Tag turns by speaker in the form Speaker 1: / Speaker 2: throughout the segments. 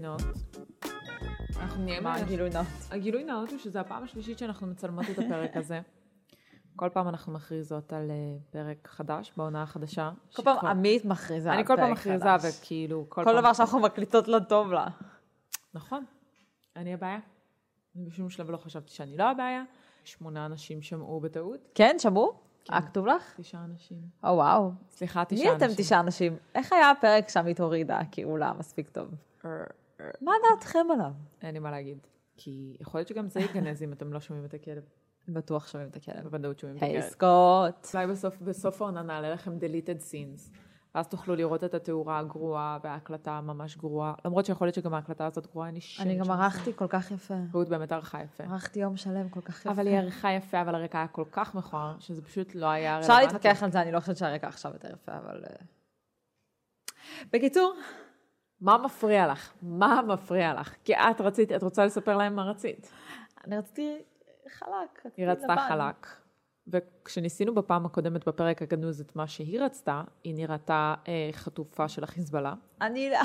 Speaker 1: נאות.
Speaker 2: אנחנו נהיה
Speaker 1: מה כאילו,
Speaker 2: מה
Speaker 1: הגילוי נאות?
Speaker 2: הגילוי נאות הוא שזו הפעם השלישית שאנחנו מצלמות את הפרק הזה. כל פעם אנחנו מכריזות על אה, פרק חדש, בעונה החדשה.
Speaker 1: כל פעם
Speaker 2: שכבר-
Speaker 1: עמית מכריזה על
Speaker 2: אני כל פעם
Speaker 1: פרק
Speaker 2: מכריזה,
Speaker 1: חדש.
Speaker 2: וכאילו, כל
Speaker 1: כל
Speaker 2: פעם...
Speaker 1: דבר שאנחנו מקליטות לא טוב לה.
Speaker 2: נכון, אני הבעיה. אני בשום שלב לא חשבתי שאני לא הבעיה. שמונה אנשים שמעו בטעות.
Speaker 1: כן, שמעו?
Speaker 2: כן.
Speaker 1: היה כתוב לך?
Speaker 2: תשעה אנשים.
Speaker 1: או וואו.
Speaker 2: סליחה, תשעה
Speaker 1: מי
Speaker 2: אנשים.
Speaker 1: אתם תשעה אנשים? איך היה הפרק שעמית הורידה? כי הוא לא היה מספיק טוב. מה דעתכם עליו?
Speaker 2: אין לי מה להגיד. כי יכול להיות שגם זה ייגנז אם אתם לא שומעים את הכלב.
Speaker 1: בטוח שומעים את הכלב.
Speaker 2: בוודאות שומעים את
Speaker 1: היי
Speaker 2: הכלב.
Speaker 1: סקוט.
Speaker 2: אולי בסוף, בסוף העונה נעלה לכם deleted scenes, ואז תוכלו לראות את התאורה הגרועה וההקלטה הממש גרועה, למרות שיכול להיות שגם ההקלטה הזאת גרועה, אין לי שם.
Speaker 1: אני גם ערכתי כל כך יפה.
Speaker 2: רעות באמת ערכה יפה.
Speaker 1: ערכתי יום שלם כל כך יפה.
Speaker 2: אבל היא ערכה יפה, אבל הרקע היה כל כך מכוער, שזה פשוט לא היה רלוונטי.
Speaker 1: אפשר להתווכח על זה, אני לא חושבת שהרקע עכשיו יותר יפה, אבל... אה. בקיצור,
Speaker 2: מה מפריע לך? מה מפריע לך? כי את רצית, את רוצה לספר להם מה רצית.
Speaker 1: אני רציתי חלק. רציתי
Speaker 2: היא רצתה
Speaker 1: לבן.
Speaker 2: חלק. וכשניסינו בפעם הקודמת בפרק הגנוז את מה שהיא רצתה, היא נראתה אה, חטופה של החיזבאללה.
Speaker 1: אני... לא-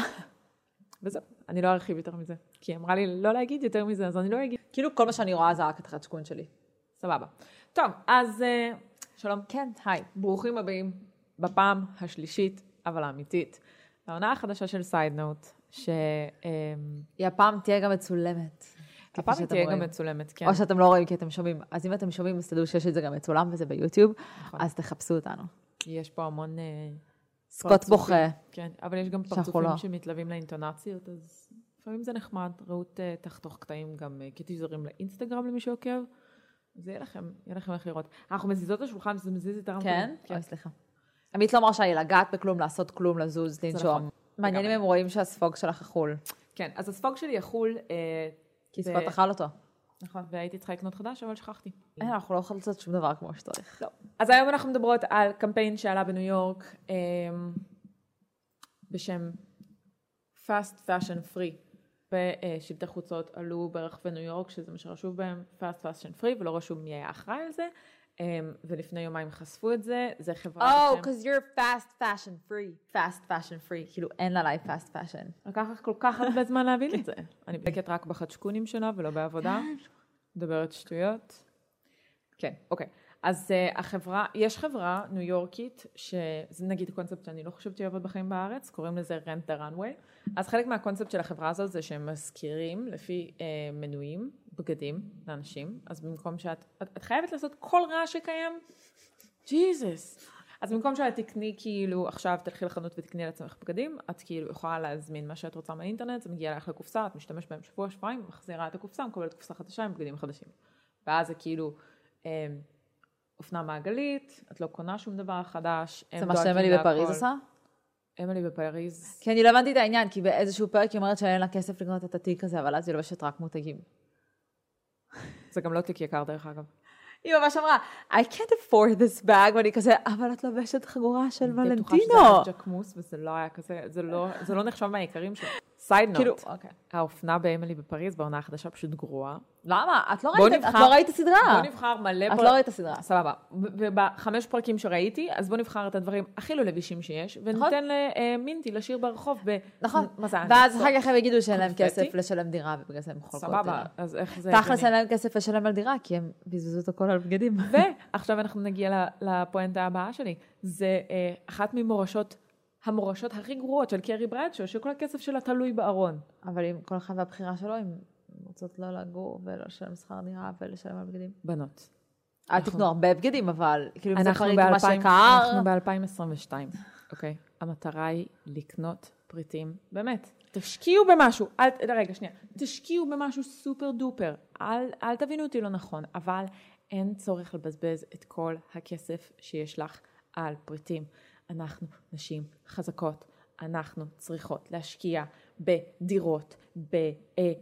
Speaker 2: וזהו, אני לא ארחיב יותר מזה. כי היא אמרה לי לא להגיד יותר מזה, אז אני לא אגיד.
Speaker 1: כאילו כל מה שאני רואה זה רק התחת שקון שלי.
Speaker 2: סבבה. טוב, אז אה, שלום.
Speaker 1: כן, היי.
Speaker 2: ברוכים הבאים בפעם השלישית, אבל האמיתית, לעונה החדשה של סיידנוט, שהפעם
Speaker 1: היא הפעם תהיה גם מצולמת. כפי
Speaker 2: אה, היא
Speaker 1: שאתם
Speaker 2: תהיה גם
Speaker 1: רואים.
Speaker 2: מצולמת, כן.
Speaker 1: או שאתם לא רואים כי אתם שומעים. אז אם אתם שומעים, אז תדעו שיש את זה גם מצולם וזה ביוטיוב, אז תחפשו אותנו.
Speaker 2: כי יש פה המון... אה,
Speaker 1: סקוט
Speaker 2: פרצופים.
Speaker 1: בוכה.
Speaker 2: כן, אבל יש גם
Speaker 1: שאנחנו
Speaker 2: פרצופים
Speaker 1: לא.
Speaker 2: שמתלווים לאינטונציות, אז לפעמים זה נחמד. רעות אה, תחתוך קטעים גם אה, כטיזרים לאינסטגרם למי שעוקב. אז יהיה לכם, יהיה לכם איך לראות. אנחנו מזיזות את השולחן, זה מזיז את הרמקולים.
Speaker 1: כן? אוי, סליחה. עמית לא אמרה שהיא לגעת בכלום, לעשות כלום, לזוז,
Speaker 2: נכון.
Speaker 1: לנשום. מעניין אם הם רואים שהספוג שלך אכול.
Speaker 2: כן, אז הספוג שלי יחול, אה,
Speaker 1: כי
Speaker 2: ו-
Speaker 1: סקוט אכל אותו.
Speaker 2: נכון, והייתי צריכה לקנות חדש, אבל שכחתי.
Speaker 1: אין, אנחנו לא יכולים לעשות שום דבר כמו שצריך.
Speaker 2: לא. אז היום אנחנו מדברות על קמפיין שעלה בניו יורק אמ, בשם Fast Fashion Free. ושלטי חוצות עלו ברחבי ניו יורק, שזה מה שרשום בהם Fast Fashion Free, ולא רשום מי היה אחראי על זה. אמ, ולפני יומיים חשפו את זה, זה חברה...
Speaker 1: Oh,
Speaker 2: בשם-
Speaker 1: because you're fast fashion free. fast fashion free. כאילו, אין עליי fast fashion.
Speaker 2: לקח לך כל כך הרבה זמן להבין את זה. אני בקט רק בחדשקונים שלה ולא בעבודה. מדברת שטויות. כן, אוקיי. אז uh, החברה, יש חברה ניו יורקית, שזה נגיד קונספט שאני לא חושבת שיעבוד בחיים בארץ, קוראים לזה rent the runway. אז חלק מהקונספט של החברה הזאת זה שהם משכירים לפי uh, מנויים, בגדים לאנשים, אז במקום שאת, את, את חייבת לעשות כל רעש שקיים, ג'יזוס. אז במקום שאת תקני כאילו, עכשיו תלכי לחנות ותקני לעצמך בגדים, את כאילו יכולה להזמין מה שאת רוצה מהאינטרנט, זה מגיע לך לקופסה, את משתמשת בהם שבוע, שבועיים, מחזירה את הקופסה, מקבלת קופסה חדשה עם בגדים חדשים. ואז זה כאילו אה, אופנה מעגלית, את לא קונה שום דבר חדש. הם
Speaker 1: זה מה
Speaker 2: דואגים
Speaker 1: שאמילי בפריז
Speaker 2: להכל.
Speaker 1: עושה?
Speaker 2: אמילי בפריז.
Speaker 1: כי אני לא הבנתי את העניין, כי באיזשהו פרק היא אומרת שאין לה כסף לקנות את התיק הזה, אבל אז היא לובשת רק מותגים.
Speaker 2: זה גם לא תיק יקר דרך אגב.
Speaker 1: היא ממש אמרה, I can't afford this bag, ואני כזה, אבל את לובשת חגורה של
Speaker 2: אני בטוחה
Speaker 1: ולנטינו.
Speaker 2: שזה היה ג'קמוס וזה לא היה כזה, זה לא, זה לא נחשב מהעיקרים שלו. סייד
Speaker 1: כאילו,
Speaker 2: נוט, האופנה באמילי בפריז בעונה החדשה פשוט גרועה.
Speaker 1: למה? את לא
Speaker 2: בואו
Speaker 1: ראית את- את
Speaker 2: נבחר-
Speaker 1: לא ראית את הסדרה.
Speaker 2: בוא נבחר מלא...
Speaker 1: את
Speaker 2: פר-
Speaker 1: לא ראית את הסדרה.
Speaker 2: סבבה. ו- ובחמש פרקים שראיתי, אז בוא נבחר את הדברים הכי לא לבישים שיש,
Speaker 1: נכון.
Speaker 2: וניתן למינטי לשיר ברחוב ב...
Speaker 1: נכון.
Speaker 2: מזל.
Speaker 1: ואז אחר כך הם יגידו שאין להם
Speaker 2: קונפטי.
Speaker 1: כסף לשלם דירה, ובגלל זה הם חולקות
Speaker 2: סבבה,
Speaker 1: דירה.
Speaker 2: אז איך זה...
Speaker 1: תכלס
Speaker 2: הגיוני?
Speaker 1: אין להם כסף לשלם על דירה, כי הם בזבזו את הכל על בגדים.
Speaker 2: ועכשיו אנחנו נגיע ל- לפואנטה הבאה שלי. זה אה, אחת ממורשות, המורשות הכי גרועות של קרי ברדשו, שכל הכסף שלה תלוי בארון.
Speaker 1: אבל אם כל אחד והבחירה שלו, אם רוצות לא לגור ולא לשלם שכר דירה ולשלם על בגדים.
Speaker 2: בנות.
Speaker 1: אל תקנו הרבה בגדים, אבל כאילו אם זה
Speaker 2: אנחנו
Speaker 1: פריט
Speaker 2: ב-
Speaker 1: מה
Speaker 2: אלפיים-
Speaker 1: שקר.
Speaker 2: אנחנו ב-2022, אוקיי? המטרה היא לקנות פריטים, באמת. תשקיעו במשהו, אל, ת- רגע, שנייה. תשקיעו במשהו סופר דופר. אל, אל תבינו אותי לא נכון, אבל אין צורך לבזבז את כל הכסף שיש לך על פריטים. אנחנו נשים חזקות. אנחנו צריכות להשקיע בדירות,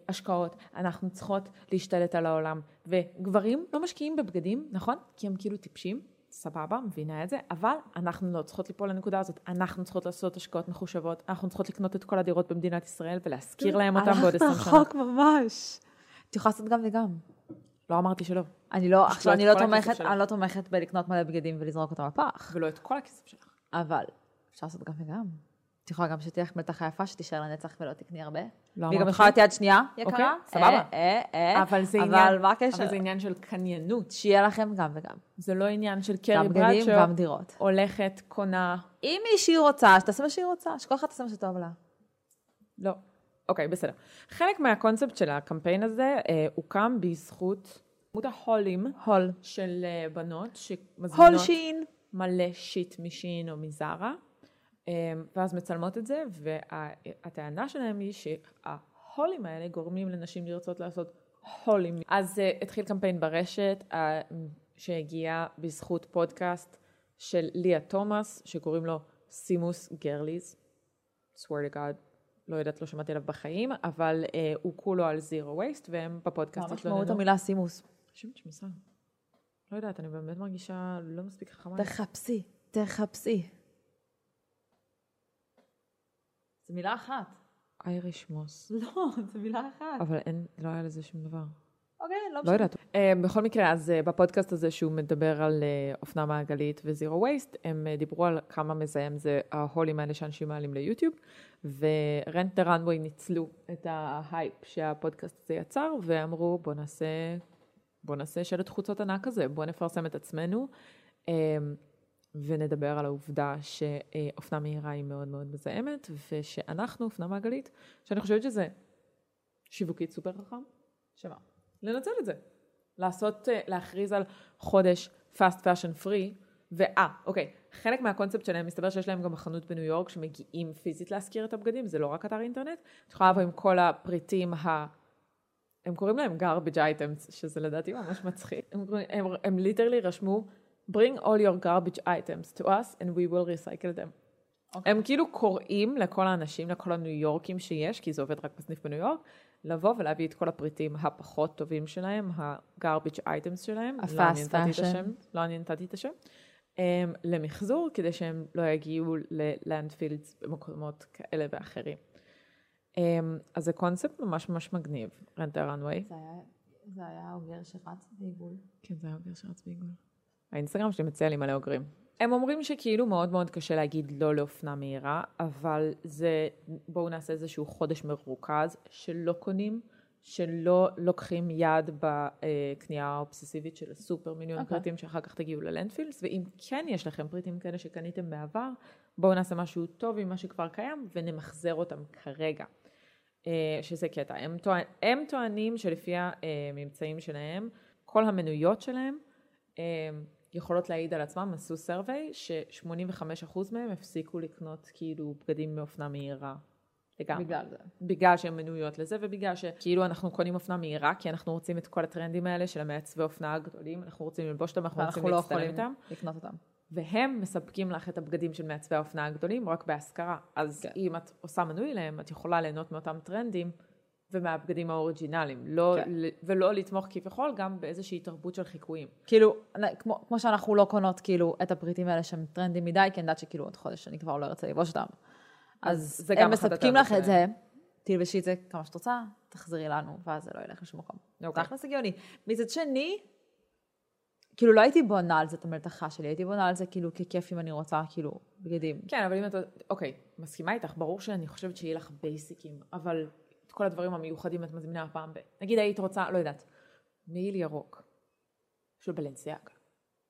Speaker 2: בהשקעות, אנחנו צריכות להשתלט על העולם. וגברים לא משקיעים בבגדים, נכון? כי הם כאילו טיפשים, סבבה, מבינה את זה, אבל אנחנו לא צריכות ליפול לנקודה הזאת. אנחנו צריכות לעשות השקעות מחושבות, אנחנו צריכות לקנות את כל הדירות במדינת ישראל ולהשכיר להם אותם בעוד עשרים
Speaker 1: הלכת
Speaker 2: שנה.
Speaker 1: רחוק ממש. את יכולה לעשות גם וגם.
Speaker 2: לא אמרתי שלא,
Speaker 1: אני לא,
Speaker 2: פשוט
Speaker 1: עכשיו
Speaker 2: לא את
Speaker 1: אני לא
Speaker 2: כל הכסף
Speaker 1: תומכת,
Speaker 2: שלך.
Speaker 1: אני לא תומכת בלקנות מלא בגדים ולזרוק אותם לפח,
Speaker 2: ולא את כל הכסף שלך.
Speaker 1: אבל אפשר לעשות גם וגם. את יכולה גם שתהיה לך מלתחה יפה, שתישאר לנצח ולא תקני הרבה.
Speaker 2: לא
Speaker 1: והיא גם
Speaker 2: אמרתי.
Speaker 1: יכולה להיות יד שנייה, יקרה.
Speaker 2: אוקיי,
Speaker 1: אה,
Speaker 2: סבבה.
Speaker 1: אה, אה,
Speaker 2: אבל זה
Speaker 1: אבל
Speaker 2: עניין,
Speaker 1: מה הקשר?
Speaker 2: אבל זה עניין של קניינות.
Speaker 1: שיהיה לכם גם וגם.
Speaker 2: זה לא עניין של
Speaker 1: גם
Speaker 2: קרי
Speaker 1: בגדים,
Speaker 2: ברדשו,
Speaker 1: גם דירות.
Speaker 2: הולכת, קונה,
Speaker 1: אם מישהי רוצה, שתעשה מה שהיא רוצה, שכל אחד תעשה מה שטוב לה.
Speaker 2: לא. אוקיי, בסדר. חלק מהקונספט של הקמפיין הזה אה, הוקם בזכות כמות ההולים
Speaker 1: הול.
Speaker 2: של אה, בנות
Speaker 1: הול
Speaker 2: שמזמינות
Speaker 1: שין.
Speaker 2: מלא שיט משין או מזרה, אה, ואז מצלמות את זה, והטענה שלהם היא שההולים האלה גורמים לנשים לרצות לעשות הולים. אז אה, התחיל קמפיין ברשת אה, שהגיע בזכות פודקאסט של ליה תומאס, שקוראים לו סימוס גרליז. swear to God, לא יודעת, לא שמעתי עליו בחיים, אבל אה, הוא כולו על זירו וייסט, והם בפודקאסט
Speaker 1: מה משמעות המילה סימוס?
Speaker 2: שימוש מוסר. לא יודעת, אני באמת מרגישה לא מספיק חכמה.
Speaker 1: נכון. תחפשי, תחפשי. זו מילה אחת.
Speaker 2: אייריש מוס.
Speaker 1: לא, זו מילה אחת.
Speaker 2: אבל אין, לא היה לזה שום דבר.
Speaker 1: אוקיי, לא
Speaker 2: לא
Speaker 1: משנה.
Speaker 2: יודעת. בכל מקרה, אז אה, בפודקאסט הזה שהוא מדבר על אה, אופנה מעגלית וזירו וייסט, הם אה, דיברו על כמה מזהם זה ההולים האלה שאנשים מעלים ליוטיוב, ורנט דה רנווי ניצלו את ההייפ שהפודקאסט הזה יצר, ואמרו בוא נעשה, בוא נעשה שלט חוצות ענק כזה, בוא נפרסם את עצמנו, אה, ונדבר על העובדה שאופנה מהירה היא מאוד מאוד מזהמת, ושאנחנו אופנה מעגלית, שאני חושבת שזה שיווקית סופר חכם. שמה? לנצל את זה. לעשות, אה, להכריז על חודש fast fashion free, ואה, אוקיי, חלק מהקונספט שלהם, מסתבר שיש להם גם חנות בניו יורק שמגיעים פיזית להשכיר את הבגדים, זה לא רק אתר אינטרנט. את יכולה לבוא עם כל הפריטים ה... הם קוראים להם garbage items, שזה לדעתי ממש מצחיק. הם, קוראים- הם, הם ליטרלי רשמו, bring all your garbage items to us and we will recycle them.
Speaker 1: אוקיי.
Speaker 2: הם כאילו קוראים לכל האנשים, לכל הניו יורקים שיש, כי זה עובד רק בסניף בניו יורק, לבוא ולהביא את כל הפריטים הפחות טובים שלהם, ה-garbage items שלהם,
Speaker 1: ה-fast
Speaker 2: לא אני נתתי את
Speaker 1: fashion.
Speaker 2: השם, לא אני נתתי את השם, אמ, למחזור, כדי שהם לא יגיעו ללנדפילדס במקומות כאלה ואחרים. אמ, אז זה קונספט ממש ממש מגניב, רנטר רנווי.
Speaker 1: זה היה האוגר שרץ בעיגול.
Speaker 2: כן, זה היה אוגר שרץ בעיגול. האינסטגרם שלי מציע לי מלא אוגרים. הם אומרים שכאילו מאוד מאוד קשה להגיד לא לאופנה מהירה, אבל זה, בואו נעשה איזשהו חודש מרוכז שלא קונים, שלא לוקחים יד בקנייה האובססיבית של הסופר מיליון okay.
Speaker 1: אוקיי.
Speaker 2: פריטים שאחר כך תגיעו ללנדפילס, ואם כן יש לכם פריטים כאלה שקניתם בעבר, בואו נעשה משהו טוב עם מה שכבר קיים ונמחזר אותם כרגע. אה, שזה קטע. הם, טוענ... הם טוענים שלפי אה, הממצאים שלהם, כל המנויות שלהם אה, יכולות להעיד על עצמם, עשו סרווי, ש-85% מהם הפסיקו לקנות כאילו בגדים מאופנה מהירה. לגמרי.
Speaker 1: בגלל זה.
Speaker 2: בגלל שהן מנויות לזה ובגלל שכאילו אנחנו קונים אופנה מהירה כי אנחנו רוצים את כל הטרנדים האלה של המעצבי אופנה הגדולים, אנחנו רוצים ללבוש אותם, אנחנו רוצים
Speaker 1: ואנחנו לא
Speaker 2: להצטלם
Speaker 1: יכולים
Speaker 2: איתם,
Speaker 1: לקנות אותם.
Speaker 2: והם מספקים לך את הבגדים של מעצבי האופנה הגדולים רק בהשכרה. אז
Speaker 1: כן.
Speaker 2: כן. אם את עושה מנוי להם, את יכולה ליהנות מאותם טרנדים ומהבגדים האוריג'ינליים, לא,
Speaker 1: כן.
Speaker 2: כן. ולא לתמוך כביכול גם באיזושהי תרבות של חיקויים.
Speaker 1: כאילו, נ- כמו, כמו שאנחנו לא קונות כאילו את הפריטים האלה שהם טרנדים מדי, כי אני יודעת שכאילו עוד חודש אני כבר לא ארצה ללבוש אותם. אז
Speaker 2: זה
Speaker 1: הם
Speaker 2: גם אחת
Speaker 1: מספקים
Speaker 2: הטענות
Speaker 1: לך את זה, תלבשי את זה כמה שאת רוצה, תחזרי לנו, ואז זה לא ילך לשום מקום. זה
Speaker 2: אוקיי.
Speaker 1: הכנס הגיוני. מצד שני, כאילו לא הייתי בונה על זה את המלתחה שלי, הייתי בונה על זה כאילו ככיף אם אני רוצה כאילו בגדים.
Speaker 2: כן, אבל אם את... אוקיי, מסכימה איתך, ברור שאני חושבת שיהיה לך בייסיקים, אבל את כל הדברים המיוחדים את מזמינה הפעם ב... נגיד היית רוצה, לא יודעת, מעיל ירוק של בלנסיאק.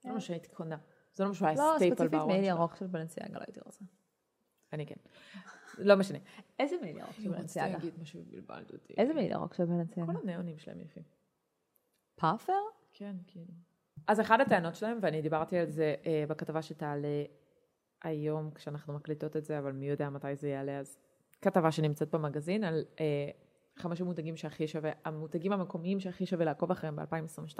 Speaker 2: זה לא מה שהיית קונה. זה לא מה שהוא היה
Speaker 1: אה. לא,
Speaker 2: סטייפל
Speaker 1: ספציפית
Speaker 2: בארון
Speaker 1: מעיל
Speaker 2: שלך.
Speaker 1: ירוק של בלנסיאגה לא הייתי רוצה.
Speaker 2: אני כן. לא משנה.
Speaker 1: איזה מעיל ירוק
Speaker 2: אני
Speaker 1: של
Speaker 2: רוצה
Speaker 1: בלנסיאגה?
Speaker 2: להגיד משהו ובלבלת אותי.
Speaker 1: איזה מעיל ירוק של בלנסיאגה?
Speaker 2: כל הניאונים שלהם יפים.
Speaker 1: פאפר?
Speaker 2: כן, כאילו. אז אחת הטענות שלהם, ואני דיברתי על זה אה, בכתבה שתעלה היום כשאנחנו מקליטות את זה, אבל מי יודע מתי זה יעלה, אז כתבה שנמצאת במגזין על אה, חמש המותגים שהכי שווה, המותגים המקומיים שהכי שווה לעקוב אחריהם ב-2022.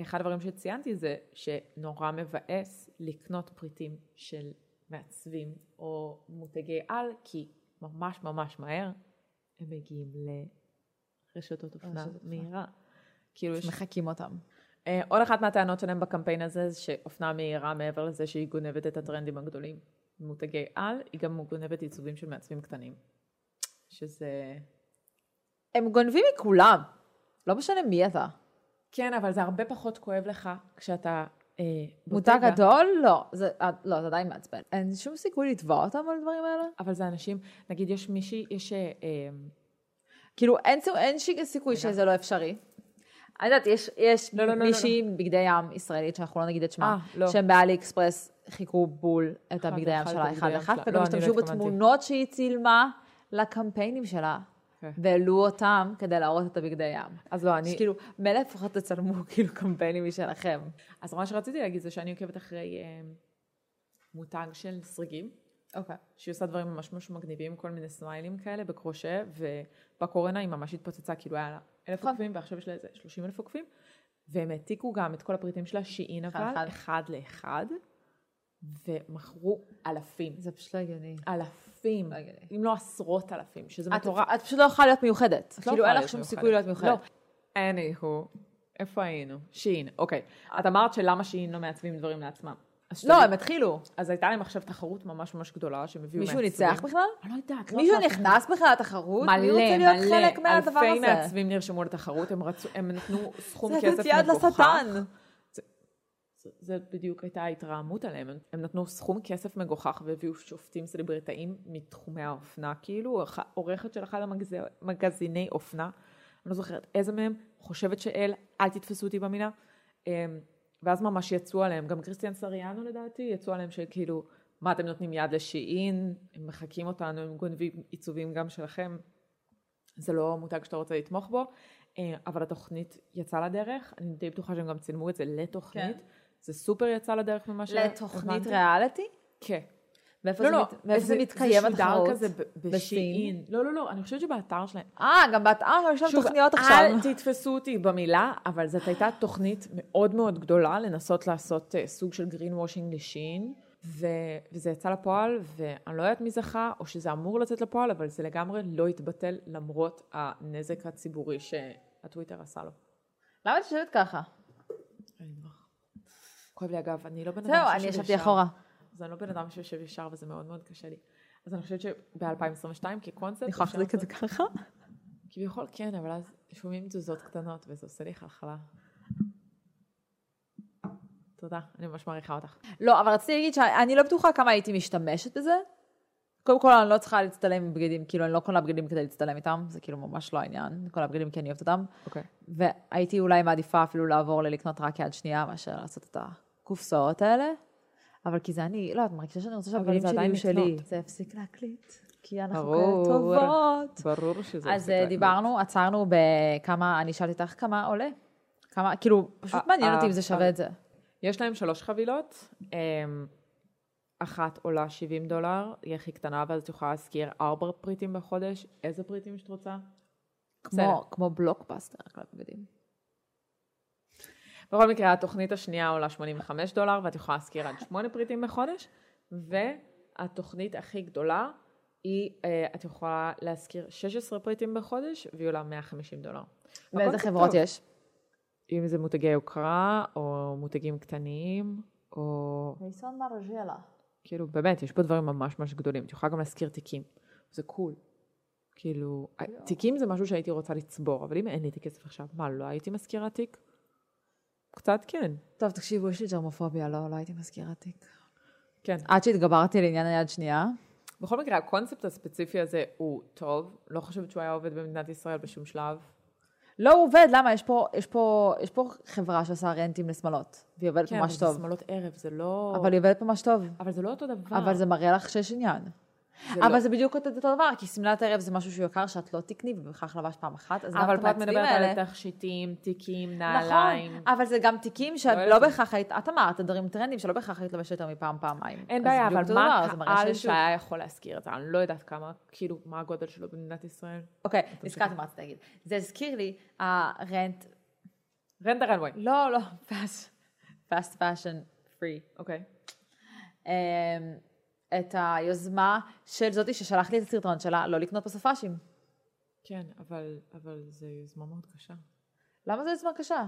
Speaker 2: אחד הדברים שציינתי זה שנורא מבאס לקנות פריטים של מעצבים או מותגי על, כי ממש ממש מהר הם מגיעים לרשתות אופנה
Speaker 1: רשתות אופנה.
Speaker 2: מהירה. כאילו יש
Speaker 1: מחקים אותם.
Speaker 2: אה, עוד אחת מהטענות שלהם בקמפיין הזה זה שאופנה מהירה מעבר לזה שהיא גונבת את הטרנדים הגדולים מותגי על, היא גם גונבת עיצובים של מעצבים קטנים. שזה...
Speaker 1: הם גונבים מכולם, לא משנה מי אתה.
Speaker 2: כן, אבל זה הרבה פחות כואב לך כשאתה אה,
Speaker 1: מותג
Speaker 2: בוטגה.
Speaker 1: גדול? לא. זה אה, לא, זה עדיין מעצבן. אין שום סיכוי לתבוע אותם על הדברים האלה?
Speaker 2: אבל זה אנשים, נגיד יש מישהי, יש... אה, אה,
Speaker 1: כאילו, אין, סי- אין שי- סיכוי שזה לא אפשרי. אני יודעת, יש, יש
Speaker 2: לא, לא, לא, לא,
Speaker 1: מישהי עם בגדי ים ישראלית, שאנחנו לא נגיד את שמה,
Speaker 2: אה, לא.
Speaker 1: שהם באלי אקספרס חיכו בול את הבגדי ים
Speaker 2: ואחד,
Speaker 1: שלה
Speaker 2: בגדי
Speaker 1: אחד
Speaker 2: ים
Speaker 1: לאחד,
Speaker 2: שלה.
Speaker 1: וגם
Speaker 2: לא, אני לא
Speaker 1: השתמשו
Speaker 2: התכוונתי.
Speaker 1: בתמונות שהיא צילמה לקמפיינים שלה,
Speaker 2: כן.
Speaker 1: והעלו אותם כדי להראות את הבגדי ים.
Speaker 2: אז לא, אני...
Speaker 1: אז כאילו, מילא לפחות תצלמו כאילו קמפיינים משלכם.
Speaker 2: אז מה שרציתי להגיד זה שאני עוקבת אחרי אה, מותג של סריגים,
Speaker 1: אוקיי.
Speaker 2: שהיא עושה דברים ממש ממש מגניבים, כל מיני סמיילים כאלה בקרושה, ובקורונה היא ממש התפוצצה, כאילו היה לה אלף
Speaker 1: נכון.
Speaker 2: עוקבים, ועכשיו יש לה איזה שלושים אלף עוקבים, והם העתיקו גם את כל הפריטים שלה, שיעין
Speaker 1: אחד,
Speaker 2: אבל,
Speaker 1: אחד.
Speaker 2: אחד לאחד, ומכרו אלפים,
Speaker 1: זה פשוט לא הגיוני.
Speaker 2: אלפים,
Speaker 1: לא הגיוני.
Speaker 2: אם לא עשרות אלפים, שזה
Speaker 1: את,
Speaker 2: מטורף.
Speaker 1: את פשוט לא יכולה להיות מיוחדת.
Speaker 2: לא
Speaker 1: כאילו,
Speaker 2: יכולה
Speaker 1: אין לך
Speaker 2: להיות
Speaker 1: שום
Speaker 2: מיוחדת.
Speaker 1: סיכוי להיות מיוחדת.
Speaker 2: לא. anyhow, איפה היינו? שיעין, אוקיי. את אמרת שלמה שיעין לא מעצבים דברים לעצמם. אז
Speaker 1: לא,
Speaker 2: שתדעי-
Speaker 1: הם התחילו.
Speaker 2: אז הייתה להם עכשיו תחרות ממש ממש גדולה שהם הביאו
Speaker 1: מישהו
Speaker 2: מעצבים.
Speaker 1: ניצח בכלל?
Speaker 2: אני לא יודעת. לא
Speaker 1: מישהו
Speaker 2: עקבתי.
Speaker 1: נכנס בכלל לתחרות? מי
Speaker 2: מלא,
Speaker 1: רוצה להיות
Speaker 2: מלא.
Speaker 1: חלק מהדבר
Speaker 2: אלפי
Speaker 1: הזה?
Speaker 2: מעצבים נרשמו לתחרות, הם רצו, הם נתנו סכום
Speaker 1: זה
Speaker 2: כסף
Speaker 1: לתת יד
Speaker 2: מגוחך.
Speaker 1: לשטן.
Speaker 2: זה- זה בדיוק הייתה ההתרעמות עליהם. הם- הם נתנו סכום כסף מגוחך והביאו שופטים סלבריטאים מתחומי האופנה, כאילו, אח- עורכת של אחד המגזיני אופנה, אני לא זוכרת איזה מהם, חושבת שאל, אל תתפסו אותי במילה. אמ, ואז ממש יצאו עליהם, גם קריסטיאן סריאנו לדעתי, יצאו עליהם שכאילו, מה אתם נותנים יד לשיעין, הם מחקים אותנו, הם גונבים עיצובים גם שלכם, זה לא מותג שאתה רוצה לתמוך בו, אה, אבל התוכנית יצאה לדרך, אני די בטוחה שהם גם צילמו את זה לתוכנית,
Speaker 1: כן.
Speaker 2: זה סופר יצא לדרך ממה
Speaker 1: לתוכנית
Speaker 2: שהבנתי.
Speaker 1: ריאליטי?
Speaker 2: כן.
Speaker 1: מאיפה
Speaker 2: לא,
Speaker 1: זה
Speaker 2: לא,
Speaker 1: מת- מאיפה זה מתקיים
Speaker 2: זה שודר
Speaker 1: התחרות?
Speaker 2: כזה ב- בשיעין. לא, לא, לא, אני חושבת שבאתר שלהם.
Speaker 1: אה, גם באתר יש לנו תוכניות עכשיו.
Speaker 2: אל תתפסו אותי במילה, אבל זאת הייתה תוכנית מאוד מאוד גדולה לנסות לעשות אה, סוג של גרין וושינג לשין, ו- וזה יצא לפועל, ואני לא יודעת מי זכה, או שזה אמור לצאת לפועל, אבל זה לגמרי לא התבטל למרות הנזק הציבורי שהטוויטר עשה לו.
Speaker 1: למה את יושבת ככה?
Speaker 2: אני אברח. כואב לי אגב, אני לא בן אדם
Speaker 1: זהו, אני ישבתי אחורה.
Speaker 2: אז אני לא בן אדם שיושב ישר וזה מאוד מאוד קשה לי. אז אני חושבת שב-2022 כקונספט...
Speaker 1: אני יכולה
Speaker 2: אפשר
Speaker 1: להחזיק את זה
Speaker 2: לעשות-
Speaker 1: ככה?
Speaker 2: כביכול כן, אבל אז שומעים תזוזות קטנות וזה עושה לי חלחלה. תודה, אני ממש מעריכה אותך.
Speaker 1: לא, אבל רציתי להגיד שאני לא בטוחה כמה הייתי משתמשת בזה. קודם כל, אני לא צריכה להצטלם עם בגדים, כאילו, אני לא קונה בגדים כדי להצטלם איתם, זה כאילו ממש לא העניין. אני קונה בגדים כי אני אוהבת אותם.
Speaker 2: אוקיי.
Speaker 1: והייתי אולי מעדיפה אפילו לעבור ללקנות רק יד שנייה מאשר לעשות את הקופסאות האלה. אבל כי זה אני, לא, את מרגישה שאני רוצה
Speaker 2: אבל
Speaker 1: שהבגדים
Speaker 2: זה
Speaker 1: שלי
Speaker 2: עדיין
Speaker 1: יהיו שלי.
Speaker 2: לקנות.
Speaker 1: זה יפסיק להקליט, כי אנחנו
Speaker 2: ברור.
Speaker 1: כאלה טובות.
Speaker 2: ברור שזה...
Speaker 1: אז
Speaker 2: עושה
Speaker 1: אה,
Speaker 2: את זה.
Speaker 1: דיברנו, עצרנו בכמה, אני שאלתי אותך כמה עולה. כמה, כאילו, פשוט
Speaker 2: אה,
Speaker 1: מעניין
Speaker 2: אה,
Speaker 1: אותי אם זה שווה
Speaker 2: אה.
Speaker 1: את זה.
Speaker 2: יש להם שלוש חבילות, אמ, אחת עולה 70 דולר, היא הכי קטנה, ואז את יכולה להשכיר ארבע פריטים בחודש, איזה פריטים שאת רוצה.
Speaker 1: כמו- כמו בלוקבאסטר רק לבגדים.
Speaker 2: בכל מקרה, התוכנית השנייה עולה 85 דולר, ואת יכולה להשכיר עד 8 פריטים בחודש, והתוכנית הכי גדולה היא, אה, את יכולה להשכיר 16 פריטים בחודש, והיא עולה 150 דולר.
Speaker 1: ואיזה
Speaker 2: הקונספט
Speaker 1: חברות
Speaker 2: טוב.
Speaker 1: יש?
Speaker 2: אם זה מותגי יוקרה, או מותגים קטנים, או
Speaker 1: מייסון מרג'לה.
Speaker 2: כאילו, באמת, יש פה דברים ממש ממש גדולים. את יכולה גם להשכיר תיקים, זה קול. כאילו,
Speaker 1: לא.
Speaker 2: תיקים זה משהו שהייתי רוצה לצבור, אבל אם אין לי את הכסף עכשיו, מה, לא הייתי משכירה תיק? קצת כן.
Speaker 1: טוב, תקשיבו, יש לי ג'רמופוביה, לא, לא הייתי מזכירה תיק.
Speaker 2: כן.
Speaker 1: עד שהתגברתי לעניין היד שנייה.
Speaker 2: בכל מקרה, הקונספט הספציפי הזה הוא טוב, לא חושבת שהוא היה עובד במדינת ישראל בשום שלב.
Speaker 1: לא, הוא עובד, למה? יש פה, יש פה, יש פה חברה שעושה רנטים לשמאלות, והיא עובדת
Speaker 2: כן,
Speaker 1: ממש
Speaker 2: אבל
Speaker 1: טוב.
Speaker 2: זה שמאלות ערב, זה לא...
Speaker 1: אבל היא עובדת ממש טוב.
Speaker 2: אבל זה לא אותו דבר.
Speaker 1: אבל זה מראה לך שיש עניין.
Speaker 2: זה
Speaker 1: אבל
Speaker 2: לא.
Speaker 1: זה בדיוק אותו אותו דבר, כי שמלת ערב זה משהו שהוא יקר שאת לא תקני, ובכך לבש פעם אחת, אז למה
Speaker 2: אבל
Speaker 1: את
Speaker 2: פה את
Speaker 1: המעצבים
Speaker 2: מדברת
Speaker 1: האלה?
Speaker 2: על תכשיטים, תיקים, נעליים.
Speaker 1: נכון, אבל זה גם תיקים שאת
Speaker 2: לא
Speaker 1: לא
Speaker 2: יודעת.
Speaker 1: בהכרח היית, את אמרת, דברים טרנדים שלא בהכרח היית לבשת יותר מפעם, פעמיים.
Speaker 2: אין
Speaker 1: אז
Speaker 2: בעיה,
Speaker 1: בדיוק
Speaker 2: אבל
Speaker 1: אותו
Speaker 2: מה
Speaker 1: דבר, זה מראה
Speaker 2: הקהל
Speaker 1: שיש-
Speaker 2: שהיה יכול להשכיר את זה? אני לא יודעת כמה, כאילו, מה הגודל שלו במדינת ישראל.
Speaker 1: אוקיי, נזכרתי מה רציתי להגיד. זה הזכיר לי, הרנט,
Speaker 2: רנדה רנווי.
Speaker 1: לא, לא, fast fashion free.
Speaker 2: אוקיי.
Speaker 1: אמ, את היוזמה של זאתי ששלח לי את הסרטון שלה, לא לקנות בסופאשים.
Speaker 2: כן, אבל אבל זה יוזמה מאוד קשה.
Speaker 1: למה זו יוזמה קשה?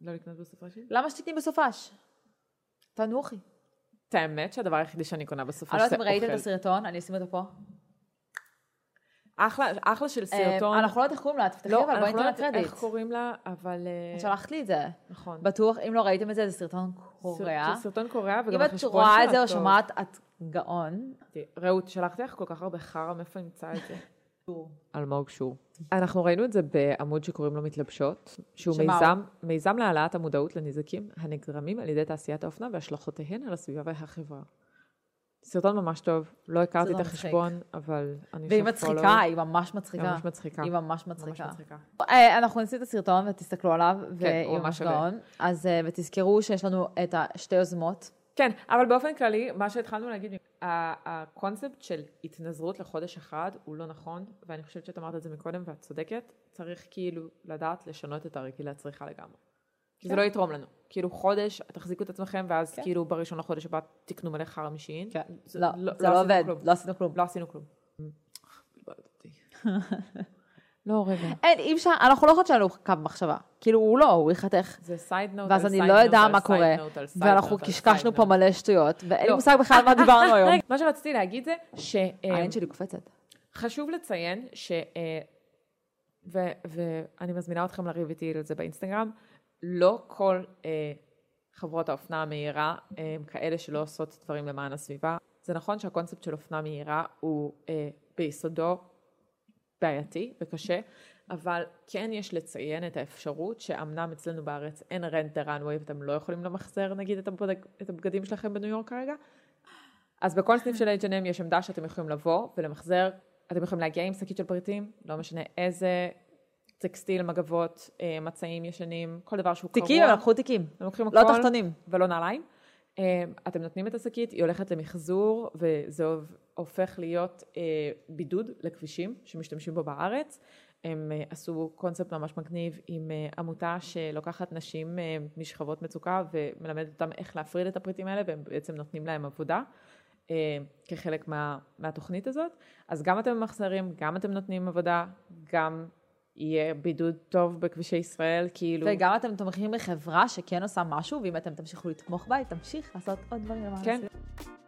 Speaker 2: לא לקנות בסופו של
Speaker 1: למה שתקני בסופש? תנוחי.
Speaker 2: את האמת שהדבר היחידי שאני קונה בסופו
Speaker 1: אני
Speaker 2: של
Speaker 1: לא יודעת
Speaker 2: זה
Speaker 1: אם ראיתם את
Speaker 2: אוכל.
Speaker 1: הסרטון, אני אשים אותו פה.
Speaker 2: אחלה, אחלה של סרטון.
Speaker 1: אה, אנחנו לא יודעת איך קוראים לה, תפתחי אבל בואי
Speaker 2: אנחנו לא
Speaker 1: ניתן לה
Speaker 2: יודעת
Speaker 1: קרדיט.
Speaker 2: איך קוראים לה, אבל... אה,
Speaker 1: את שלחת לי את זה.
Speaker 2: נכון.
Speaker 1: בטוח, אם לא ראיתם את זה, זה סרטון קורע.
Speaker 2: זה סרטון קוריאה, וגם
Speaker 1: אם
Speaker 2: החשבון
Speaker 1: את
Speaker 2: שלה
Speaker 1: רואה את זה או
Speaker 2: טוב.
Speaker 1: שומעת, את גאון.
Speaker 2: רעות, שלחתי לך כל כך הרבה חרא, מאיפה נמצא את זה? אלמוג שור. אנחנו ראינו את זה בעמוד שקוראים לו מתלבשות, שהוא
Speaker 1: שמה
Speaker 2: מיזם, מיזם להעלאת המודעות לנזקים הנגרמים על ידי תעשיית האופנה והשלכותיהן על הסביבה והחברה. סרטון ממש טוב, לא הכרתי את
Speaker 1: סרטון מצחיק.
Speaker 2: החשבון, אבל אני
Speaker 1: והיא
Speaker 2: עושה
Speaker 1: מצחיקה,
Speaker 2: follow.
Speaker 1: היא ממש
Speaker 2: היא
Speaker 1: מצחיקה.
Speaker 2: ממש מצחיקה.
Speaker 1: היא
Speaker 2: ממש
Speaker 1: ממש מצחיקה.
Speaker 2: מצחיקה.
Speaker 1: אה, אנחנו נשים את הסרטון ותסתכלו עליו,
Speaker 2: כן, הוא
Speaker 1: והיא
Speaker 2: ממש
Speaker 1: ממש
Speaker 2: שווה.
Speaker 1: גאון. אז אה, ותזכרו שיש לנו את השתי יוזמות.
Speaker 2: כן, אבל באופן כללי, מה שהתחלנו להגיד, ה- הקונספט של התנזרות לחודש אחד הוא לא נכון, ואני חושבת שאת אמרת את זה מקודם ואת צודקת, צריך כאילו לדעת לשנות את הרגלי הצריכה לגמרי. כי זה
Speaker 1: כן.
Speaker 2: לא יתרום לנו. כאילו חודש, תחזיקו את עצמכם, ואז
Speaker 1: כן.
Speaker 2: כאילו בראשון לחודש הבא תקנו מלא חרא משיעין.
Speaker 1: לא, זה לא
Speaker 2: עשינו
Speaker 1: עובד,
Speaker 2: כלום.
Speaker 1: לא עשינו כלום.
Speaker 2: לא עשינו כלום. לא, רגע.
Speaker 1: אין, אי אפשר, אנחנו לא יכולות שיהיה לנו קו מחשבה. כאילו, הוא לא, הוא ייחתך.
Speaker 2: זה סייד נוט
Speaker 1: ואז אני לא יודעה מה קורה, ואנחנו קשקשנו פה מלא שטויות, ואין לי
Speaker 2: לא.
Speaker 1: מושג בכלל על מה דיברנו היום.
Speaker 2: מה שרציתי להגיד זה, ש... אה,
Speaker 1: העין שלי קופצת.
Speaker 2: חשוב לציין ש... אה, ו, ואני מזמינה אתכם לריב איתי על זה באינסטגרם, לא כל אה, חברות האופנה המהירה הם כאלה שלא עושות דברים למען הסביבה. זה נכון שהקונספט של אופנה מהירה הוא אה, ביסודו בעייתי וקשה, אבל כן יש לציין את האפשרות שאמנם אצלנו בארץ אין רנט דה runway ואתם לא יכולים למחזר נגיד את, הבד... את הבגדים שלכם בניו יורק כרגע, אז בכל סניף של H&M יש עמדה שאתם יכולים לבוא ולמחזר, אתם יכולים להגיע עם שקית של פריטים, לא משנה איזה, טקסטיל, מגבות, אה, מצעים ישנים, כל דבר שהוא
Speaker 1: תיקים, הם לקחו תיקים.
Speaker 2: הם לוקחים
Speaker 1: לא
Speaker 2: הכל.
Speaker 1: תחתונים.
Speaker 2: ולא נעליים. אה, אתם נותנים את השקית, היא הולכת למחזור, וזה הוב- הופך להיות אה, בידוד לכבישים שמשתמשים בו בארץ. הם אה, עשו קונספט ממש מגניב עם אה, עמותה שלוקחת נשים אה, משכבות מצוקה ומלמדת אותם איך להפריד את הפריטים האלה, והם בעצם נותנים להם עבודה. אה, כחלק מה, מהתוכנית הזאת. אז גם אתם ממחזרים, גם אתם נותנים עבודה, גם יהיה בידוד טוב בכבישי ישראל, כאילו...
Speaker 1: וגם אתם תומכים בחברה שכן עושה משהו, ואם אתם תמשיכו לתמוך בה, היא תמשיך לעשות עוד דברים למען
Speaker 2: כן.
Speaker 1: הסביבה.